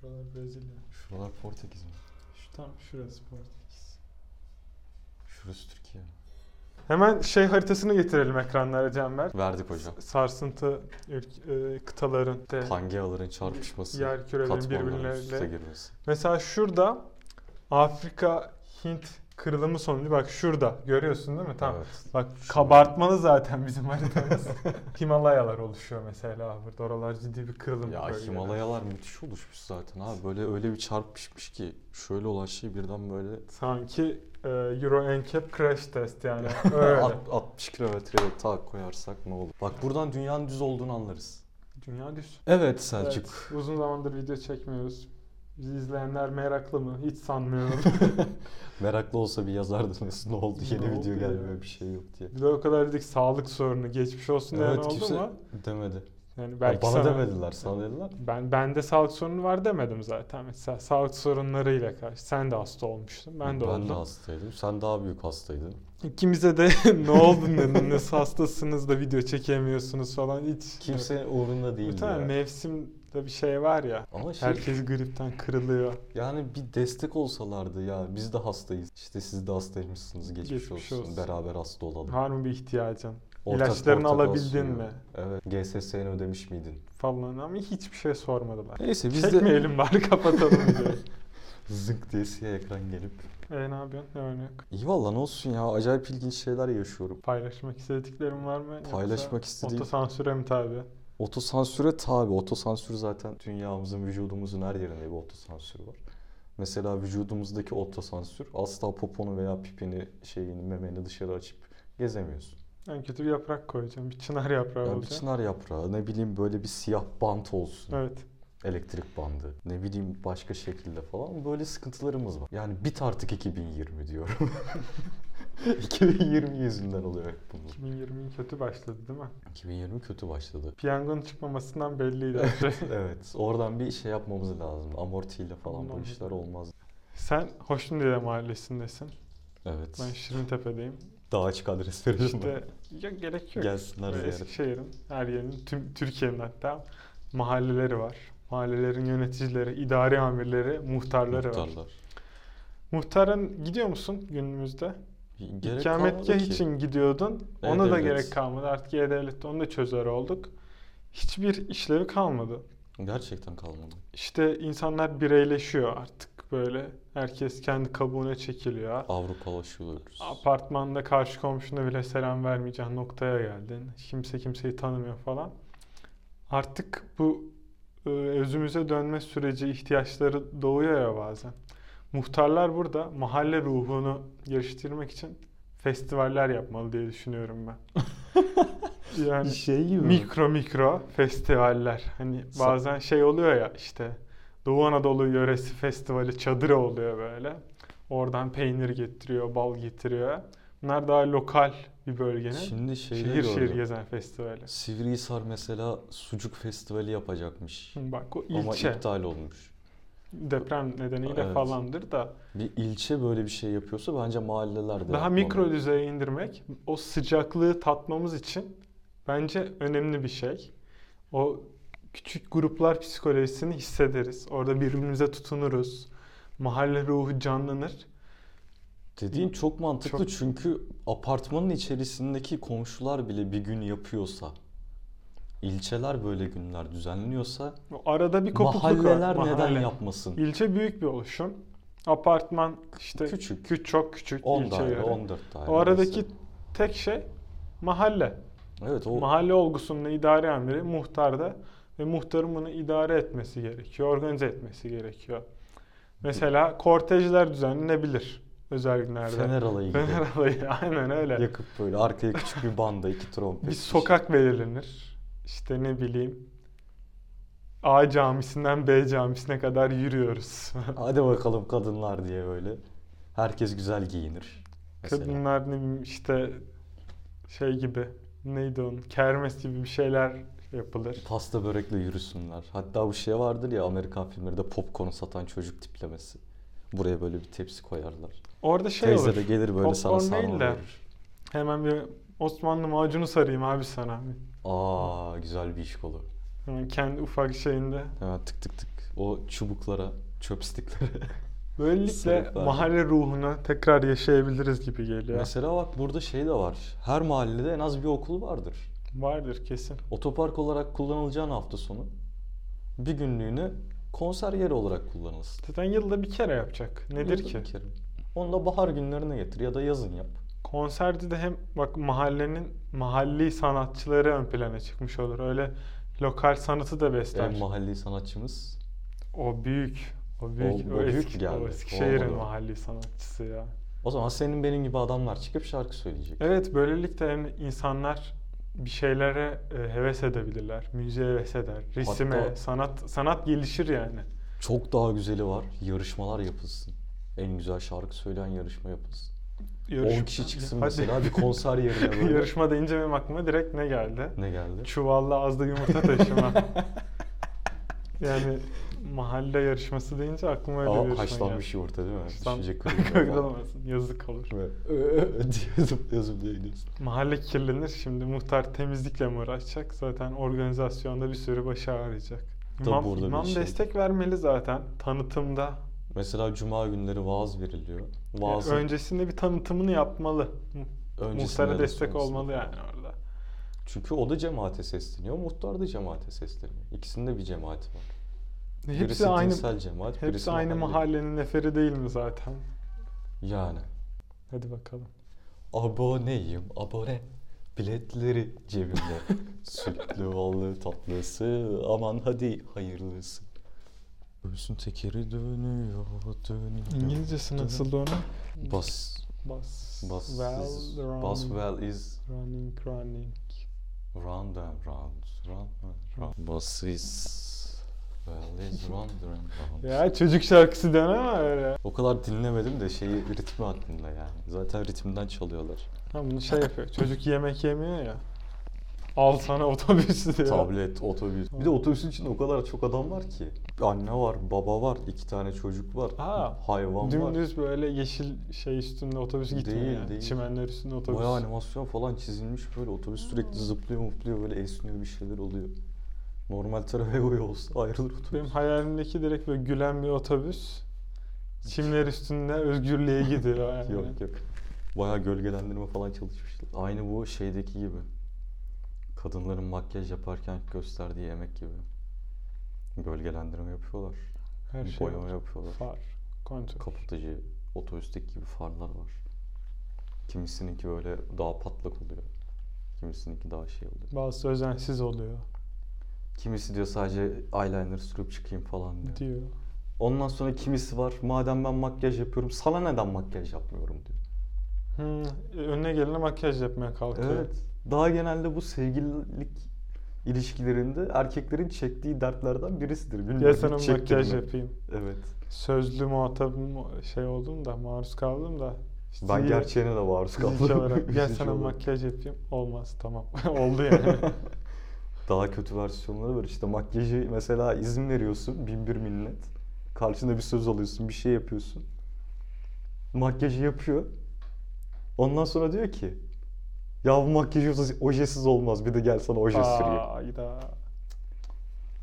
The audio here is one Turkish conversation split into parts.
Şuralar Brezilya. Şuralar Portekiz mi? Şu tam şurası Portekiz. Şurası Türkiye mi? Hemen şey haritasını getirelim ekranlara Canber. Verdik hocam. S- Sarsıntı ülk- e, kıtaların de Pangeaların çarpışması, yer katmanların kürelerinin üst üste birbirleriyle. girmesi. Mesela şurada Afrika Hint kırılımı sonucu bak şurada görüyorsun değil mi? Tamam. Evet. Bak Şurada. kabartmalı zaten bizim haritamız. Himalayalar oluşuyor mesela burada. Oralar ciddi bir kırılım Ya bölgeleri. Himalayalar müthiş oluşmuş zaten abi. Böyle öyle bir çarpışmış ki şöyle olan şey birden böyle Sanki e, Euro NCAP crash test yani. Öyle. Alt- 60 kilometreye tak koyarsak ne olur? Bak buradan dünyanın düz olduğunu anlarız. Dünya düz. Evet Evet, uzun zamandır video çekmiyoruz. Bizi izleyenler meraklı mı? Hiç sanmıyorum. Meraklı olsa bir yazardınız ne oldu yeni Ne oldu video ya? gelmiyor bir şey yok diye. bir de o kadar dedik sağlık sorunu geçmiş olsun diyen Evet oldu kimse mu? demedi. Yani Ya belki bana sana- demediler sana dediler. Ben bende sağlık sorunu var demedim zaten. Mesela sağlık sorunlarıyla karşı. Sen de hasta olmuştun. Ben de oldum. hastaydım. Sen daha büyük hastaydın. İkimize de ne oldu dedim. Nasıl hastasınız da video çekemiyorsunuz falan. Hiç. Kimsenin uğrunda Bir değildi tane ya. mevsimde bir şey var ya. Ama şey Herkes gripten kırılıyor. yani bir destek olsalardı ya biz de hastayız. İşte siz de hastaymışsınız geçmiş, Geçmiş olsun. olsun. Beraber hasta olalım. Var mı bir ihtiyacın? Ortak İlaçlarını ortak alabildin olsun. mi? Evet. GSS'ni ödemiş miydin? Falan ama hiçbir şey sormadılar. Neyse biz de Çekmeyelim bari kapatalım videoyu. zınk diye siyah ekran gelip. e ne yapıyorsun? Ne örnek? İyi valla ne olsun ya acayip ilginç şeyler yaşıyorum. Paylaşmak istediklerim var mı? Paylaşmak Yoksa istediğim- Otosansüre mi tabi? Otosansüre tabi. Otosansür zaten dünyamızın, vücudumuzun her yerinde bir otosansür var. Mesela vücudumuzdaki otosansür asla poponu veya pipini, şeyini, memeni dışarı açıp gezemiyorsun. En kötü bir yaprak koyacağım. Bir çınar yaprağı Yani bir olacak. çınar yaprağı, ne bileyim böyle bir siyah bant olsun, Evet. elektrik bandı, ne bileyim başka şekilde falan böyle sıkıntılarımız var. Yani bit artık 2020 diyorum. 2020 yüzünden oluyor hep bunlar. 2020 kötü başladı değil mi? 2020 kötü başladı. Piyangonun çıkmamasından belliydi. her şey. Evet, oradan bir şey yapmamız lazım. Amortiyle falan bu Anladım. işler olmaz. Sen Hoşnudide mahallesindesin. Evet. Ben Şirintepe'deyim. Daha açık adres verelim mi? İşte e, ya gerek yok. Gelsinler Böyle ziyaret. Eskişehir'in, her yerinin, tüm Türkiye'nin hatta mahalleleri var. Mahallelerin yöneticileri, idari amirleri, muhtarları var. Muhtarlar. Muhtarın gidiyor musun günümüzde? Gerek İkametgah kalmadı ki. E, için gidiyordun. Ona da E-Devlet. gerek kalmadı. Artık E-Devlet'te onu da çözer olduk. Hiçbir işlevi kalmadı. Gerçekten kalmadı. İşte insanlar bireyleşiyor artık böyle. Herkes kendi kabuğuna çekiliyor. Avrupalaşıyoruz. Apartmanda karşı komşuna bile selam vermeyeceğin noktaya geldin. Kimse kimseyi tanımıyor falan. Artık bu e, özümüze dönme süreci ihtiyaçları doğuyor ya bazen. Muhtarlar burada mahalle ruhunu geliştirmek için festivaller yapmalı diye düşünüyorum ben. Yani şey gibi. mikro mikro festivaller. Hani Sa- bazen şey oluyor ya işte Doğu Anadolu yöresi festivali çadıra oluyor böyle. Oradan peynir getiriyor, bal getiriyor. Bunlar daha lokal bir bölgenin Şimdi şeyde şehir şehir gördüm. gezen festivali. Sivrihisar mesela sucuk festivali yapacakmış. Şimdi Bak o Ama ilçe iptal olmuş. deprem nedeniyle Evet. falandır da Bir ilçe böyle bir şey yapıyorsa bence mahalleler de daha yapmalı. mikro düzeye indirmek o sıcaklığı tatmamız için bence önemli bir şey. O küçük gruplar psikolojisini hissederiz. Orada birbirimize tutunuruz. Mahalle ruhu canlanır. Dediğin çok mantıklı Çok- çünkü apartmanın içerisindeki komşular bile bir gün yapıyorsa, ilçeler böyle günler düzenliyorsa O Arada bir kopukluk var. mahalleler Mahalle. neden yapmasın? İlçe büyük bir oluşum. Apartman işte Küçük. kü- çok küçük 10 ilçe daire, göre. 14 daire. şey O aradaki mesela. tek şey mahalle. Evet o Mahalle olgusunun idare amiri muhtarda ve muhtarın bunu idare etmesi gerekiyor, organize etmesi gerekiyor. Mesela kortejler düzenlenebilir özel günlerde. Fener alayı gibi. Fener alayı, aynen öyle. yakıp böyle arkaya küçük bir banda, iki trompet. Bir şey. sokak belirlenir. İşte ne bileyim A camisinden B camisine kadar yürüyoruz. Hadi bakalım kadınlar diye böyle. Herkes güzel giyinir. Mesela. Kadınlar ne bileyim işte şey gibi neydi onun kermes gibi bir şeyler yapılır. Pasta börekle yürüsünler. Hatta bu şey vardır ya Amerikan filmlerinde popcorn satan çocuk tiplemesi. Buraya böyle bir tepsi koyarlar. Orada şey Teyze olur. de gelir böyle sana Popcorn sarma değil de. verir. Hemen bir Osmanlı macunu sarayım abi sana. Aa güzel bir iş kolu. Hemen kendi ufak şeyinde. Hemen tık tık tık. O çubuklara, çöpstiklere. Böylelikle Sebepler. mahalle ruhunu tekrar yaşayabiliriz gibi geliyor. Mesela bak burada şey de var. Her mahallede en az bir okul vardır. Vardır kesin. Otopark olarak kullanılacağın hafta sonu bir günlüğüne konser yeri olarak kullanılsın. Zaten yılda bir kere yapacak. Nedir Yılda ki? bir kere. Onu da bahar günlerine getir ya da yazın yap. Konserde de hem bak mahallenin mahalli sanatçıları ön plana çıkmış olur. Öyle lokal sanatı da besler. En mahalli sanatçımız o büyük. O büyük. O- O, o büyük eski, geldi. o Eskişehir'in Olmadı. mahalli sanatçısı ya. O zaman senin benim gibi adamlar çıkıp şarkı söyleyecek. Evet böylelikle hem insanlar bir şeylere e, heves edebilirler. Müziğe heves eder. Resime, Hatta- sanat sanat gelişir yani. Çok daha güzeli var. Yarışmalar yapılsın. En güzel şarkı söyleyen yarışma yapılsın. 10 kişi çıksın Hadi. mesela bir konser yerine böyle. Yarışma deyince benim aklıma direkt ne geldi? Ne geldi? Çuvalla azda yumurta taşıma. yani mahalle yarışması deyince aklıma öyle bir Aa, yarışma haşlanmış yumurta değil mi? Haşlan- Düşünce geldi. kırıklığı. var. Kırılamazsın, Yazık olur. Ve ö- ö- diye zıp- zıplayabiliyorsun. Mahalle kirlenir. Şimdi muhtar temizlikle mi uğraşacak? Zaten organizasyonda bir sürü başı ağrıyacak. Tabii İmam, burada bir imam şey- destek vermeli zaten tanıtımda. Mesela cuma günleri vaaz veriliyor. Yani Vaazın öncesinde bir tanıtımını yapmalı. Mu- öncesinde ya da Muhtara destek sonrasında. olmalı yani orada. Çünkü o da cemaate sesleniyor, muhtar da cemaate sesleniyor. İkisinde bir cemaati var. Hepsi birisi aynı dinsel cemaat, hepsi birisi aynı mahalle. mahallenin neferi değil mi zaten? Yani. Hadi bakalım. Aboneyim, abone. Biletleri cebimde. Sütlü, ballı, tatlısı. Aman hadi hayırlısı. Göğsün tekeri dönüyor, dönüyor. İngilizcesi nasıldı onun? Bas. Bas. Bas. is- Well, running, Baswell is running, running. round and round. Round and round. Bas is... Well is round and round. Ya çocuk şarkısı dene ama öyle. O kadar dinlemedim de şeyi ritmi aklımda yani. Zaten ritimden çalıyorlar. Ha bunu şey yapıyor. Çocuk yemek yemiyor ya. Al sana otobüsü diyor. Tablet, otobüs. Bir de otobüsün içinde o kadar çok adam var ki. Anne var, baba var, iki tane çocuk var, Aa, hayvan var. Dümdüz böyle yeşil şey üstünde otobüs gitmiyor Değil, yani. değil. Çimenler üstünde otobüs. Bayağı animasyon falan çizilmiş böyle otobüs sürekli zıplıyor mutluyor böyle esniyor bir şeyler oluyor. Normal Travego olsa ayrılır Benim otobüs. hayalimdeki direkt böyle gülen bir otobüs. Çimler üstünde özgürlüğe gidiyor yani. Yok yok. Bayağı gölgelendirme falan çalışmışlar. Aynı bu şeydeki gibi. Kadınların makyaj yaparken gösterdiği emek gibi. Gölgelendirme yapıyorlar. Her şey boyama yapıyorlar. far, kontrol. Kapatıcı otobüsteki gibi farlar var. Kimisininki böyle daha patlak oluyor. Kimisininki daha şey oluyor. Bazısı özensiz oluyor Kimisi diyor sadece eyeliner sürüp çıkayım falan diyor. diyor. Ondan sonra kimisi var madem ben makyaj yapıyorum sana neden makyaj yapmıyorum diyor. Hmm, önüne gelene makyaj yapmaya kalkıyor. Evet. Daha genelde bu sevgililik ilişkilerinde erkeklerin çektiği dertlerden birisidir. Bilmiyorum, Gel hiç sana çektin makyaj mi? yapayım. Evet. Sözlü muhatabım şey oldum da maruz kaldım da. işte Ben iyi- gerçeğine de maruz fiziksel kaldım. olarak, Gel Üzücü sana olarak. makyaj yapayım. Olmaz tamam. Oldu yani. Daha kötü versiyonları var işte makyajı mesela izin veriyorsun bin bir millet. Karşında bir söz alıyorsun bir şey yapıyorsun. Makyajı yapıyor. Ondan sonra diyor ki ya bu makyaj yoksa ojesiz olmaz bir de gel sana oje süreyim. Aa, ayda.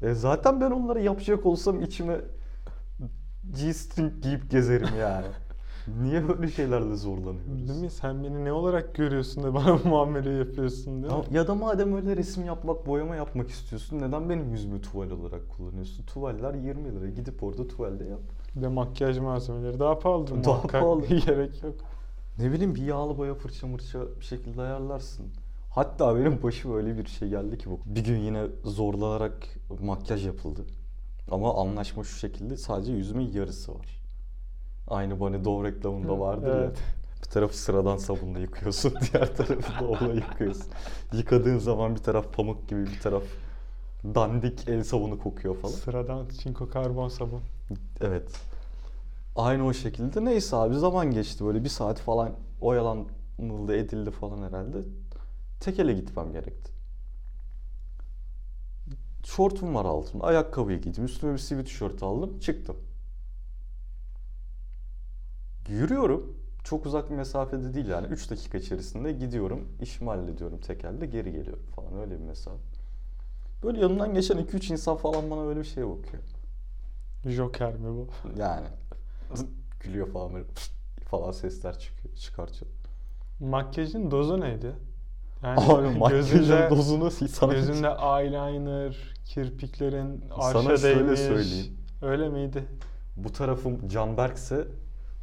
E zaten ben onları yapacak olsam içime G-string giyip gezerim yani. Niye böyle şeylerle zorlanıyoruz? Değil mi? Sen beni ne olarak görüyorsun da bana bu muameleyi yapıyorsun değil Ya, mi? ya da madem öyle resim yapmak, boyama yapmak istiyorsun neden benim yüzümü tuval olarak kullanıyorsun? Tuvaller 20 lira. Gidip orada tuvalde yap. Bir de makyaj malzemeleri daha pahalıdır Daha muhakkak. pahalı. Gerek yok. Ne bileyim bir yağlı boya fırça mırça bir şekilde ayarlarsın. Hatta benim başıma öyle bir şey geldi ki bu. Bir gün yine zorlanarak makyaj yapıldı. Ama anlaşma şu şekilde sadece yüzümün yarısı var. Aynı bu hani Dove reklamında vardır ya. Evet. Bir tarafı sıradan sabunla yıkıyorsun, diğer tarafı doğla yıkıyorsun. Yıkadığın zaman bir taraf pamuk gibi, bir taraf dandik el sabunu kokuyor falan. Sıradan çinko karbon sabun. Evet. Aynı o şekilde. Neyse abi zaman geçti böyle bir saat falan oyalanıldı edildi falan herhalde. Tekele gitmem gerekti. Şortum var altımda. Ayakkabıyı giydim. Üstüme bir sivil tişört aldım. Çıktım. Yürüyorum. Çok uzak bir mesafede değil yani. 3 dakika içerisinde gidiyorum. işimi hallediyorum tekelde. Geri geliyorum falan. Öyle bir mesafe. Böyle yanımdan geçen 2-3 insan falan bana böyle bir şeye bakıyor. Joker mi bu? Yani gülüyor falan böyle falan sesler çıkıyor, çıkartıyor. Makyajın dozu neydi? Abi makyajın gözünde- dozunu sana Gözünde eyeliner, kirpiklerin arşa sana şöyle değmiş. söyleyeyim. Öyle miydi? Bu tarafım Canberk'se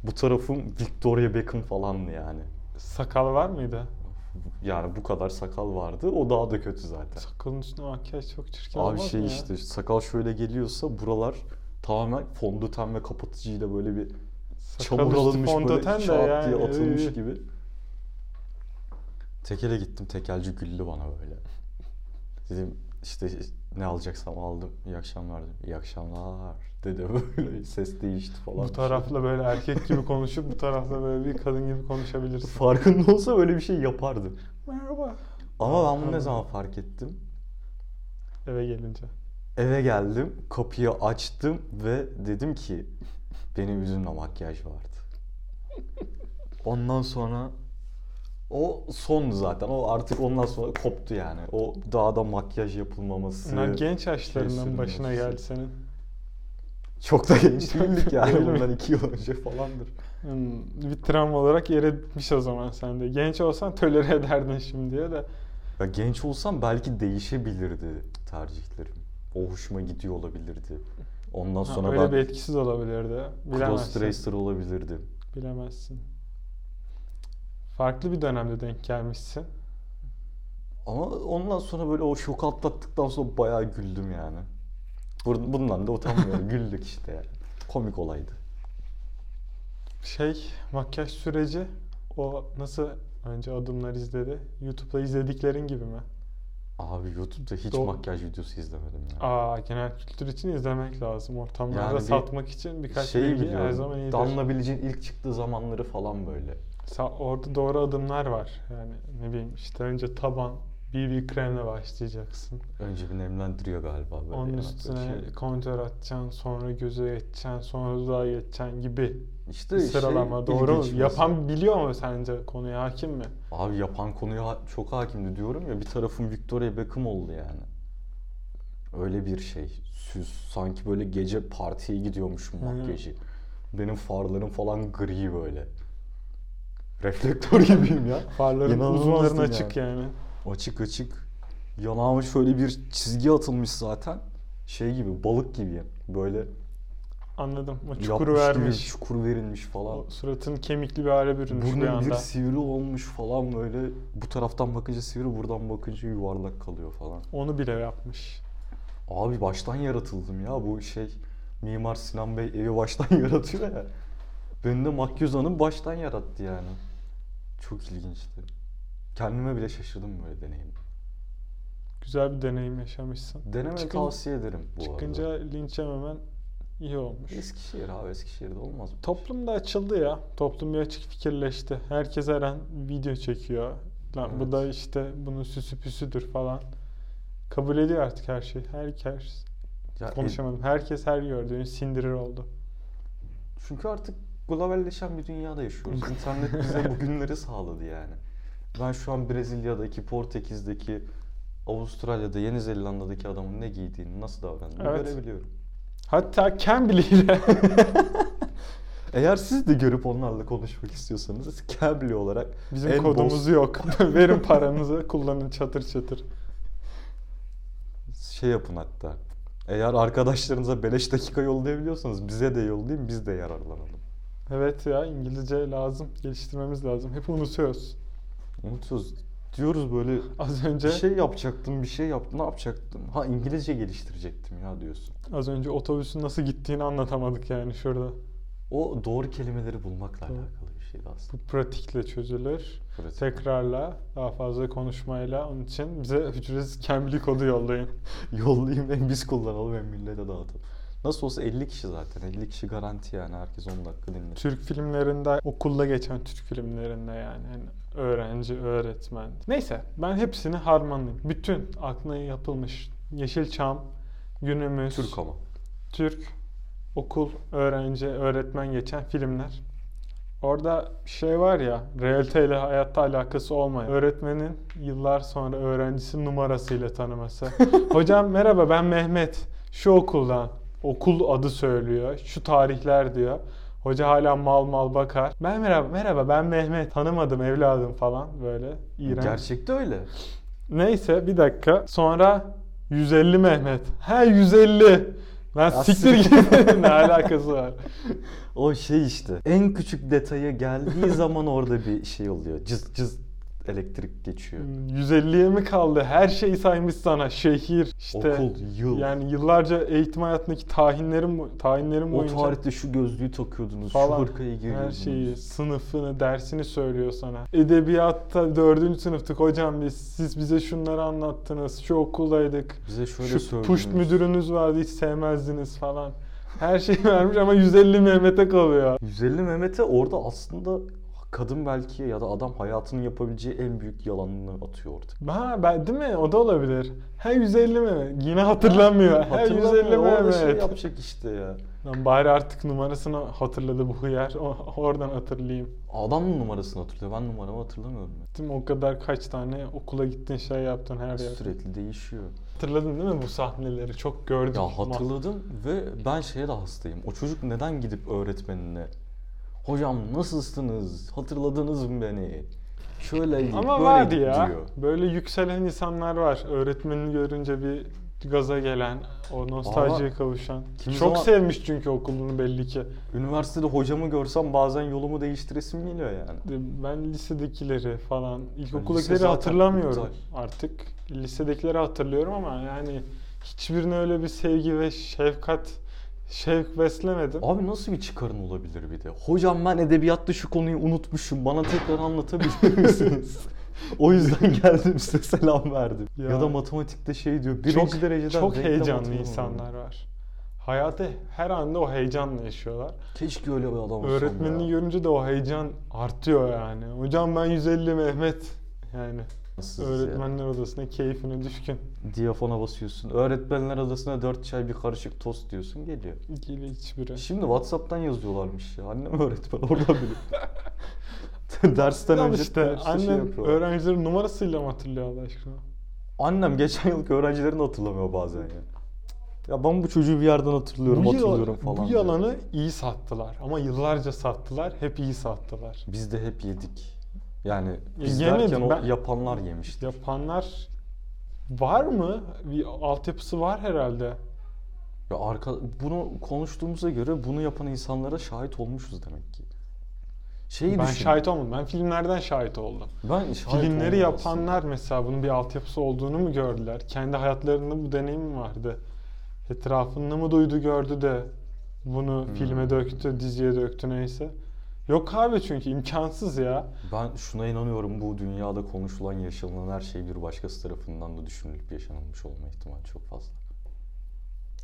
bu tarafım Victoria Beckham falandı yani. Sakal var mıydı? Yani bu kadar sakal vardı. O daha da kötü zaten. Sakalın üstüne makyaj çok çirkin Abi olmaz şey mı ya? işte sakal şöyle geliyorsa buralar tamamen fondöten ve kapatıcıyla böyle bir Sakal çamur üstü alınmış böyle fondöten şap de diye yani, atılmış ıı. gibi. Tekele gittim. Tekelci güldü bana böyle. Dedim işte ne alacaksam aldım. İyi akşamlar dedim. İyi akşamlar dedi böyle ses değişti falan. Bu tarafla böyle erkek gibi konuşup bu tarafla böyle bir kadın gibi konuşabilirsin. Farkında olsa böyle bir şey yapardı. Merhaba. Ama ben bunu ne Anladım. zaman fark ettim? Eve gelince. Eve geldim, kapıyı açtım ve dedim ki benim yüzümde makyaj vardı. Ondan sonra o sondu zaten. O artık ondan sonra koptu yani. O daha da makyaj yapılmaması. Bunlar genç yaşlarından sürünmesi. başına geldi senin. Çok da genç değildik yani. Değil mi? Bundan iki yıl önce falandır. Hmm, bir travma olarak yer etmiş o zaman sende. Genç olsan tölere ederdin şimdiye de. Ya genç olsam belki değişebilirdi tercihlerim. O hoşuma gidiyor olabilirdi. Ondan Ha, sonra öyle ben bir etkisiz olabilirdi. Cross Bilemezsin. Racer olabilirdim. Bilemezsin. Farklı bir dönemde denk gelmişsin. Ama ondan sonra böyle o şoku atlattıktan sonra bayağı güldüm yani. Bur- Bundan da utanmıyorum. Güldük işte yani. Komik olaydı. Şey, makyaj süreci o nasıl önce adımlar izledi? YouTube'da izlediklerin gibi mi? Abi YouTube'da hiç Doğru. makyaj videosu izlemedim yani. Aa, genel kültür için izlemek lazım. Ortamlarda Yani bir satmak için birkaç Şeyi bilgi her biliyorum. zaman iyidir. Damla Bilic'in ilk çıktığı zamanları falan böyle. Sa- orada doğru adımlar var. Yani ne bileyim işte önce taban BB kremle başlayacaksın. Önce bir nemlendiriyor galiba böyle. Onun yanakları üstüne şey. kontör atacaksın, sonra göze geçeceksin, sonra dudağa geçeceksin gibi İşte bir sıralama. şey, doğru mu? ilginç mesela. Yapan biliyor mu sence konuya hakim mi? Abi yapan konuya ha- çok hakimdi diyorum ya bir tarafım Victoria Beckham oldu yani. Öyle bir şey. Süz. Sanki böyle gece partiye gidiyormuşum Hı. makyajı. Benim farlarım falan gri böyle. Reflektör gibiyim ya. Farların İnanılmazdı uzunların yani. açık yani. Açık açık. Yanağıma şöyle bir çizgi atılmış zaten. Şey gibi balık gibi. Böyle Anladım. O çukuru yapmış vermiş. gibi çukur verilmiş falan. O suratın kemikli bir hale bürünmüş bir Burnu bir anda. sivri olmuş falan böyle. Bu taraftan bakınca sivri, buradan bakınca yuvarlak kalıyor falan. Onu bile yapmış. Abi baştan yaratıldım ya bu şey Mimar Sinan Bey evi baştan yaratıyor ya. Benim de Makyöz Hanım baştan yarattı yani. Çok ilginçti. Kendime bile şaşırdım böyle deneyim. Güzel bir deneyim yaşamışsın. Deneme Çıkın- tavsiye ederim bu Çıkınca arada. linç yememen iyi olmuş. Eskişehir abi Eskişehir'de olmaz mı? Toplum da açıldı ya. Toplum bir açık fikirleşti. Herkes her an video çekiyor. Lan bu Evet. da işte bunun süsü püsüdür falan. Kabul ediyor artık her şey. Herkes Ya, e, konuşamadım. Herkes her gördüğünü sindirir oldu. çünkü artık globalleşen bir dünyada yaşıyoruz. İnternet bize bugünleri sağladı yani. Ben şu an Brezilya'daki, Portekiz'deki, Avustralya'da, Yeni Zelanda'daki adamın ne giydiğini, nasıl davrandığını Evet. görebiliyorum. Hatta Cambly ile Eğer siz de görüp onlarla konuşmak istiyorsanız Cambly olarak bizim En kodumuz boz- yok. Verin paranızı kullanın çatır çatır. şey yapın hatta. Eğer arkadaşlarınıza beleş dakika yollayabiliyorsanız bize de yollayın biz de yararlanalım. Evet ya İngilizce lazım. Geliştirmemiz lazım. Hep unutuyoruz. Unutuyoruz. Diyoruz böyle Az önce bir şey yapacaktım, bir şey yaptım, ne yapacaktım? Ha İngilizce geliştirecektim ya diyorsun. az önce otobüsün nasıl gittiğini anlatamadık yani şurada. O doğru kelimeleri bulmakla Doğru. alakalı bir şeydi aslında. Bu pratikle çözülür. Burası. Tekrarla, daha fazla konuşmayla. Onun için bize ücretsiz Cambly kodu yollayın. Yollayayım hem biz kullanalım hem millete dağıtalım. Nasıl olsa 50 kişi zaten. 50 kişi garanti yani. Herkes 10 dakika dinler. Türk filmlerinde, okulda geçen Türk filmlerinde yani. yani öğrenci, öğretmen. Neyse ben hepsini harmanlayayım. Bütün aklına yapılmış Yeşilçam, günümüz, Türk ama. Türk, okul, öğrenci, öğretmen geçen filmler. Orada şey var ya, realiteyle hayatta alakası olmayan. Öğretmenin yıllar sonra öğrencisi numarasıyla tanıması. Hocam merhaba ben Mehmet, şu okuldan. okul adı söylüyor. Şu tarihler diyor. Hoca hala mal mal bakar. Ben merhaba merhaba ben Mehmet tanımadım evladım falan böyle iğrenç. Gerçekte öyle. Neyse bir dakika. Sonra 150 Mehmet. He 150. Lan Ya siktir git. ne alakası var? O şey işte. En küçük detaya geldiği zaman orada bir şey oluyor. Cız cız elektrik geçiyor. 150'ye mi kaldı? Her şeyi saymış sana. Şehir, işte Okul, yıl. yani yıllarca eğitim hayatındaki tahinlerim tahinlerim o boyunca tarihte şu gözlüğü takıyordunuz, falan şu hırkayı her giyiyordunuz. şeyi, sınıfını, dersini söylüyor sana. Edebiyatta dördüncü sınıftık hocam biz, siz bize şunları anlattınız, şu okuldaydık, Bize şöyle şu söylediniz. puşt müdürünüz vardı hiç sevmezdiniz falan. Her şeyi vermiş ama 150 Mehmet'e kalıyor. 150 Mehmet'e orada aslında kadın belki ya da adam hayatının yapabileceği en büyük yalanını atıyor orada. Ha ben değil mi? O da olabilir. He 150 Mehmet. Yine hatırlamıyor. He 150 Hatırlamıyor, orada Mehmet. şey yapacak işte ya. Lan bari artık numarasını hatırladı bu hıyar. O- Oradan hatırlayayım. Adam numarasını hatırlıyor, ben numaramı hatırlamıyorum. ya. Değil mi? O kadar kaç tane okula gittin şey yaptın her yer. Sürekli değişiyor. Hatırladın değil mi bu sahneleri? Çok gördük. Ya hatırladım ve ben şeye de hastayım. O çocuk neden gidip öğretmenine Hocam nasılsınız? Hatırladınız mı beni? Şöyle Ama böyle vardı ya. diyor. Böyle yükselen insanlar var. Öğretmenini görünce bir gaza gelen, o nostaljiye Ama kavuşan. kimi Çok zaman- sevmiş çünkü okulunu belli ki. Üniversitede hocamı görsem bazen yolumu değiştiresim geliyor yani. Ben lisedekileri falan, lise ilkokuldakileri zaten hatırlamıyorum iptal. artık. Lisedekileri hatırlıyorum ama yani hiçbirine öyle bir sevgi ve şefkat, şevk beslemedim. Abi nasıl bir çıkarın olabilir bir de? Hocam ben edebiyatta şu konuyu unutmuşum. Bana tekrar anlatabilir misiniz? o yüzden geldim size selam verdim. Ya, Ya. da matematikte şey diyor. Birinci çok, dereceden çok denklem heyecanlı hatırlamıyorum. insanlar var. Hayatı her anda o heyecanla yaşıyorlar. Keşke öyle bir adam olsam Öğretmenini ya. görünce de o heyecan artıyor yani. Hocam ben 150 Mehmet. Yani Nasılsınız ya? öğretmenler odasında keyfine düşkün. Diyafona basıyorsun. Öğretmenler odasına 4 çay bir karışık tost diyorsun geliyor. İlgili hiçbiri. Şimdi Whatsapp'tan yazıyorlarmış ya. Annem öğretmen oradan biliyor. Dersten Al önce işte derste şey annem yapıyorlar. öğrencilerin numarasıyla mı hatırlıyor Allah aşkına? Annem geçen yılki öğrencilerini hatırlamıyor bazen ya. Ya ben bu çocuğu bir yerden hatırlıyorum, bu, yala- hatırlıyorum falan. bu diyor. yalanı iyi sattılar ama yıllarca sattılar. Hep iyi sattılar. Biz de hep yedik. Yani Ya biz yemedim derken o ben. yapanlar yemişti. Yapanlar var mı? Bir altyapısı var herhalde. Ya arka, bunu konuştuğumuza göre bunu yapan insanlara şahit olmuşuz demek ki. Şeyi ben düşün. şahit olmadım. Ben filmlerden şahit oldum. ben şahit Filmleri olmadım aslında. yapanlar mesela bunun bir altyapısı olduğunu mu gördüler? Kendi hayatlarında bu deneyim mi vardı? Etrafında mı duydu gördü de bunu Hmm. filme döktü, diziye döktü neyse. Yok abi çünkü imkansız ya. Ben şuna inanıyorum bu dünyada konuşulan yaşanılan her şey bir başkası tarafından da düşünülüp yaşanılmış olma ihtimali çok fazla.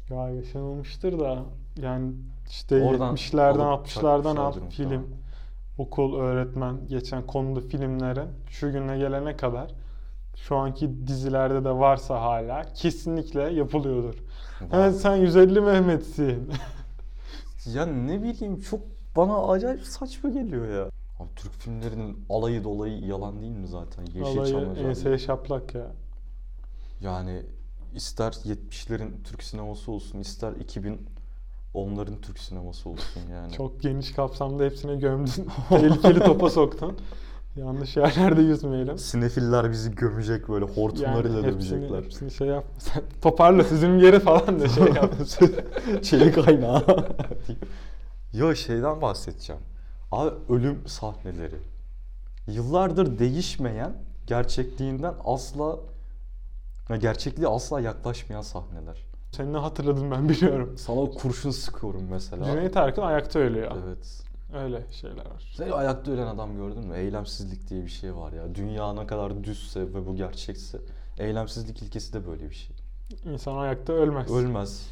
Ya yaşanılmıştır da yani işte Oradan 70'lerden alıp 60'lardan çakmışlardır al film, muhtemelen. okul, öğretmen, geçen konulu filmleri şu güne gelene kadar şu anki dizilerde de varsa hala kesinlikle yapılıyordur. Var. Evet sen 150 Mehmet'sin. Ya ne bileyim çok bana acayip saçma geliyor ya. Abi Türk filmlerinin alayı dolayı yalan değil mi şey zaten? Yeşilçam Alayı özelliği. enseye şaplak ya. Yani ister 70'lerin Türk sineması olsun ister 2000 onların Türk sineması olsun yani. Çok geniş kapsamda hepsine gömdün. Tehlikeli topa soktun. Yanlış yerlerde yüzmeyelim. Sinefiller bizi gömecek böyle hortumlarıyla hepsini, gömecekler. hepsini şey yap. Sen toparla sizin yeri falan da şey yap. Çelik aynağı. ya şeyden bahsedeceğim. Abi ölüm sahneleri. Yıllardır değişmeyen gerçekliğinden asla ya gerçekliğe asla yaklaşmayan sahneler. Seni ne hatırladım ben biliyorum. Sana o kurşun sıkıyorum mesela. Cüneyt Arkın ayakta ölüyor. Evet. Öyle şeyler var. Sen ayakta ölen adam gördün mü? Eylemsizlik diye bir şey var ya. Dünya ne kadar düzse ve bu gerçekse eylemsizlik ilkesi de böyle bir şey. İnsan ayakta ölmez. Ölmez.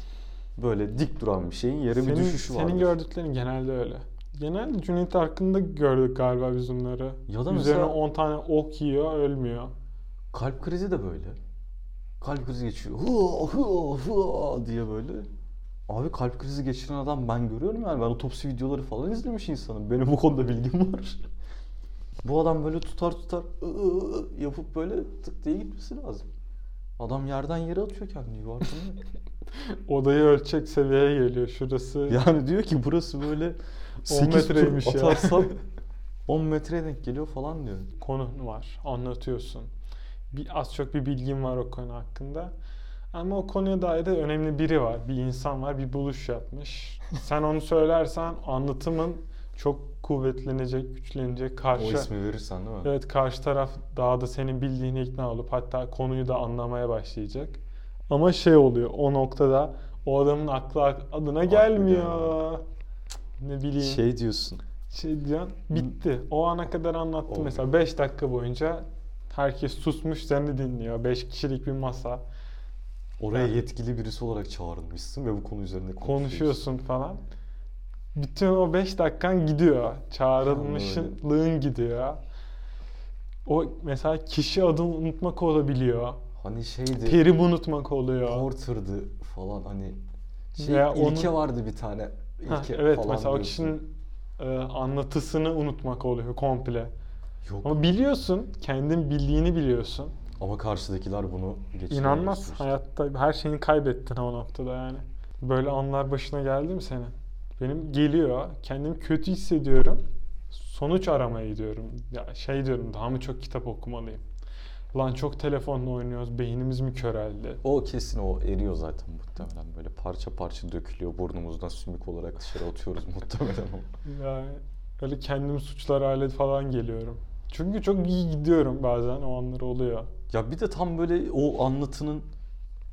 Böyle dik duran bir şeyin yere bir Senin, düşüşü var. senin gördüklerin genelde öyle. Genelde Cüneyt Arkın'da gördük galiba biz bunları. Ya da Üzerine mesela- 10 tane ok yiyor, ölmüyor. Kalp krizi de böyle. Kalp krizi geçiyor. Hıa, hıa, hıa diye böyle. Abi kalp krizi geçiren adam ben görüyorum yani. Ben otopsi videoları falan izlemiş insanım. Benim bu konuda bilgim var. Bu adam böyle tutar tutar ı, ı, ı yapıp böyle tık diye gitmesi lazım. Adam yerden yere atıyor kendini yuvarlanıyor. Odayı ölçek seviyeye geliyor. Şurası Yani diyor ki burası böyle 8 metreymiş tur ya. atarsam 10 metreye denk geliyor falan diyor. konun var, anlatıyorsun. Bir, az çok bir bilgin var o konu hakkında. Ama o konuya dair de önemli biri var. Bir insan var, bir buluş yapmış. Sen onu söylersen anlatımın çok kuvvetlenecek, güçlenecek. Karşı, O ismi verirsen değil mi? evet, karşı taraf daha da senin bildiğini ikna olup hatta konuyu da anlamaya başlayacak. Ama şey oluyor, o noktada o adamın aklı adına gelmiyor. Ne bileyim. Şey diyorsun. Şey diyen bitti. O ana kadar anlattı Oldu. mesela 5 dakika boyunca herkes susmuş seni dinliyor. 5 kişilik bir masa. Oraya Ha. yetkili birisi olarak çağrılmışsın ve bu konu üzerinde konuşuyorsun. Konuşuyorsun falan. Bütün o 5 dakikan gidiyor. Çağrılmışlığın gidiyor. O mesela kişi adını unutmak olabiliyor. Hani şeydi. Terim unutmak oluyor. Porter'dı falan hani şey Veya ilke onun- vardı bir tane ilke Heh, evet falan mesela o diyorsun. kişinin e, anlatısını unutmak oluyor komple. yok ama, Ama biliyorsun, kendin bildiğini biliyorsun. karşıdakiler bunu geçiyor. İnanmaz. Hayatta her şeyini kaybettin o noktada yani. Böyle anlar başına geldi mi senin? Benim geliyor. Kendimi kötü hissediyorum. Sonuç aramaya gidiyorum. Ya şey diyorum daha mı çok kitap okumalıyım? Lan çok telefonla oynuyoruz. Beynimiz mi köreldi? O kesin o eriyor zaten muhtemelen böyle parça parça dökülüyor burnumuzdan sümük olarak dışarı atıyoruz muhtemelen ama. Yani öyle kendimi suçlar hale falan geliyorum. Çünkü çok iyi gidiyorum bazen o anlar oluyor. Ya bir de tam böyle o anlatının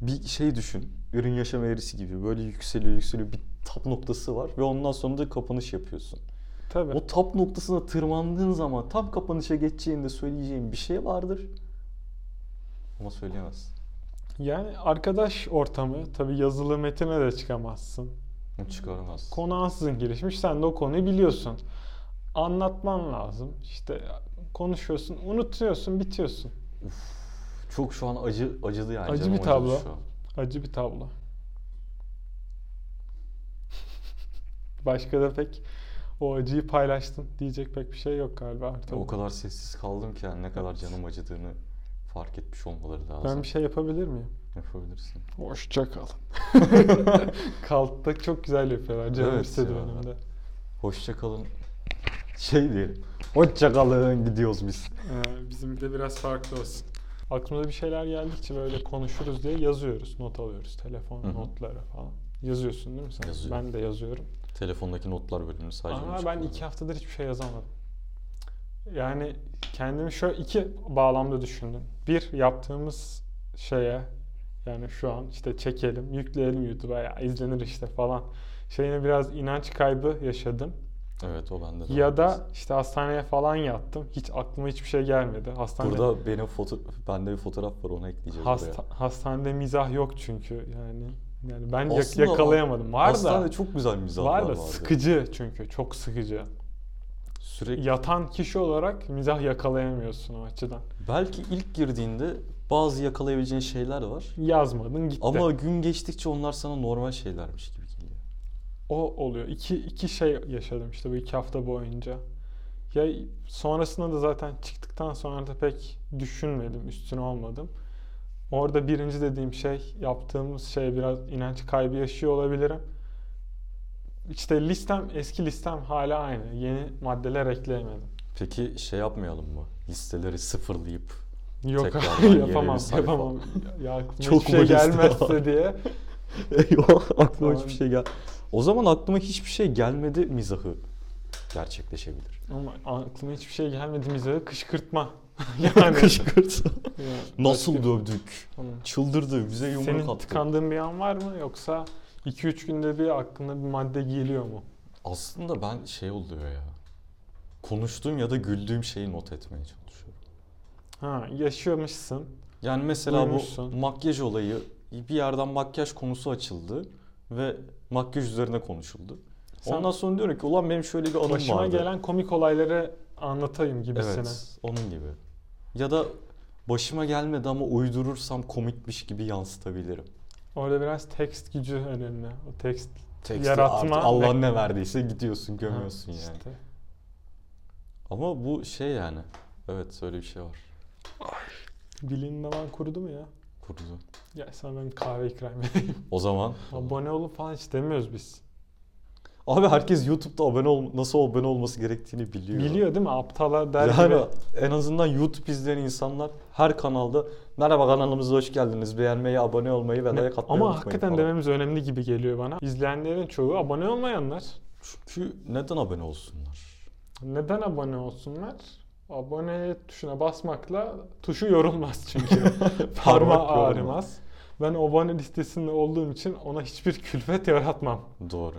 bir şey düşün. Ürün yaşam eğrisi gibi böyle yükseliyor yükseliyor bir tap noktası var ve ondan sonra da kapanış yapıyorsun. Tabii. O tap noktasına tırmandığın zaman tam kapanışa geçeceğinde söyleyeceğin bir şey vardır. Ama söyleyemezsin. Yani arkadaş ortamı tabii yazılı metine de çıkamazsın. Bunu Çıkaramazsın. Konu ansızın gelişmiş. Sen de o konuyu biliyorsun. Anlatman lazım. İşte konuşuyorsun, unutuyorsun, bitiyorsun. Çok şu an acı acıdı yani. Acı Canım bir tablo. şu an. Acı bir tablo. Başka da pek o acıyı paylaştın diyecek pek bir şey yok galiba artık. Ya O kadar sessiz kaldım ki yani ne kadar canım acıdığını fark etmiş olmaları lazım. Ben bir şey yapabilir miyim? Yapabilirsin. Hoşça kalın. Kaltta çok güzel yapıyorlar. Canım Evet istedi ya. benim de. Hoşça kalın. Şey diyelim. Hoşça kalın gidiyoruz biz. Ee, bizim de biraz farklı olsun. Aklımıza bir şeyler geldikçe böyle konuşuruz diye yazıyoruz, not alıyoruz. Telefon Hı hı. notları falan. Yazıyorsun değil mi sen? Yazıyorum. Ben de yazıyorum. Telefondaki notlar bölümünü sadece Ama onu ben çıkardım. iki haftadır hiçbir şey yazamadım. Yani kendimi şöyle iki bağlamda düşündüm. Bir, yaptığımız şeye yani şu an işte çekelim, yükleyelim YouTube'a ya izlenir işte falan şeyine biraz inanç kaybı yaşadım. Evet o bende de. var. Ya da işte hastaneye falan yattım. Hiç aklıma hiçbir şey gelmedi. Hastanede Burada benim foto... Bende bir fotoğraf var onu ekleyeceğiz buraya. Hasta, hastanede mizah yok çünkü yani. Yani ben yak- Aslında yakalayamadım. Var Hastanede da çok güzel mizahlar var da vardı. sıkıcı çünkü çok sıkıcı. Sürekli Yatan kişi olarak mizah yakalayamıyorsun o açıdan. belki ilk girdiğinde bazı yakalayabileceğin şeyler var. Yazmadın gitti. Ama gün geçtikçe onlar sana normal şeylermiş gibi geliyor. o oluyor. İki, iki şey yaşadım işte bu iki hafta boyunca. Ya sonrasında da zaten çıktıktan sonra da pek düşünmedim, üstüne olmadım. Orada birinci dediğim şey, yaptığımız şey biraz inanç kaybı yaşıyor olabilirim. İşte listem, eski listem hala aynı. Yeni maddeler ekleyemedim. Peki şey yapmayalım mı? Listeleri sıfırlayıp Yok Tekrardan abi, yeni bir yapamam, sayfa. yapamam. Ya, aklıma Çok hiçbir şey uğraştım. gelmezse diye. Yok aklıma Tamam. hiçbir şey gel. O zaman aklıma hiçbir şey gelmedi mizahı gerçekleşebilir. Ama aklıma hiçbir şey gelmedi bize kışkırtma. yani. Kışkırt. Yani Nasıl başka- dövdük? Tamam. Çıldırdı. Bize yumruk Senin attı. tıkandığın bir an var mı yoksa 2-3 günde bir aklına bir madde geliyor mu? Aslında ben şey oluyor ya. Konuştuğum ya da güldüğüm şeyi not etmeye çalışıyorum. Ha yaşıyormuşsun. Yani mesela Duymuşsun. bu makyaj olayı bir yerden makyaj konusu açıldı ve makyaj üzerine konuşuldu. Sen Ondan sonra diyorum ki ulan benim şöyle bir anım başıma vardı. gelen komik olayları anlatayım gibisine. Evet, onun gibi. Ya da başıma gelmedi ama uydurursam komikmiş gibi yansıtabilirim. Orada biraz tekst gücü önemli. O tekst Teksti Yaratma artık ve- Allah ne verdiyse gidiyorsun gömüyorsun Ha, yani. işte. Ama bu şey yani. Evet öyle bir şey var. Dilin daman kurudu mu ya? burada. Gel sana ben kahve ikram edeyim. O zaman Abone olun falan istemiyoruz biz. abi herkes YouTube'da abone ol nasıl abone olması gerektiğini biliyor. Biliyor değil mi? Aptala der yani gibi. en azından YouTube izleyen insanlar her kanalda merhaba kanalımıza hoş geldiniz. Beğenmeyi, abone olmayı ve Ne- like atmayı Ama unutmayın hakikaten falan. dememiz önemli gibi geliyor bana. İzleyenlerin çoğu abone olmayanlar. Çünkü neden abone olsunlar? Neden abone olsunlar? Abone tuşuna basmakla tuşu yorulmaz çünkü. Parmağı Parmak yorulmaz. ağrımaz. Ben abone listesinde olduğum için ona hiçbir külfet yaratmam. Doğru.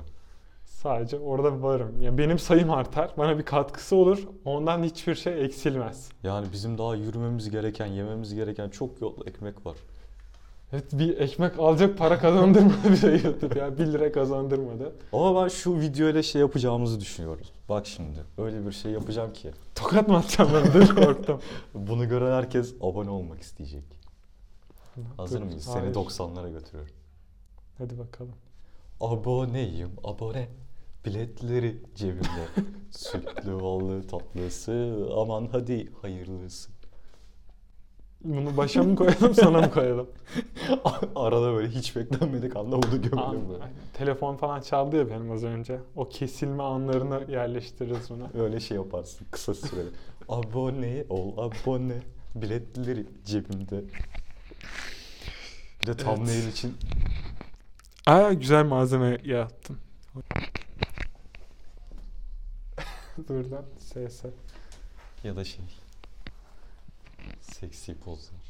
Sadece orada varım. Ya benim sayım artar, bana bir katkısı olur. Ondan hiçbir şey eksilmez. Yani bizim daha yürümemiz gereken, yememiz gereken çok yol ekmek var. Evet bir ekmek alacak para kazandırmadı bize YouTube ya. 1 lira kazandırmadı. Ama ben şu videoyla şey yapacağımızı düşünüyorum. Bak şimdi öyle bir şey yapacağım ki Tokat mı atacağım ben? Dur korktum. bunu gören herkes abone olmak isteyecek. Hazır Dur, mıyız? hayır. Seni 90'lara götürüyorum. Hadi bakalım. Aboneyim abone. Biletleri cebimde. Sütlü ballı tatlısı. Aman hadi hayırlısı. Bunu başa mı koyalım sana mı koyalım? Arada böyle hiç beklenmedik anda bunu gömelim An- böyle. telefon falan çaldı ya benim az önce. O kesilme anlarını yerleştiririz buna. Öyle şey yaparsın kısa süreli. abone ol abone. Biletleri cebimde. Bir de thumbnail için Aa güzel malzeme yarattın. Dur lan SS. ya da şey. Seksi pozlar.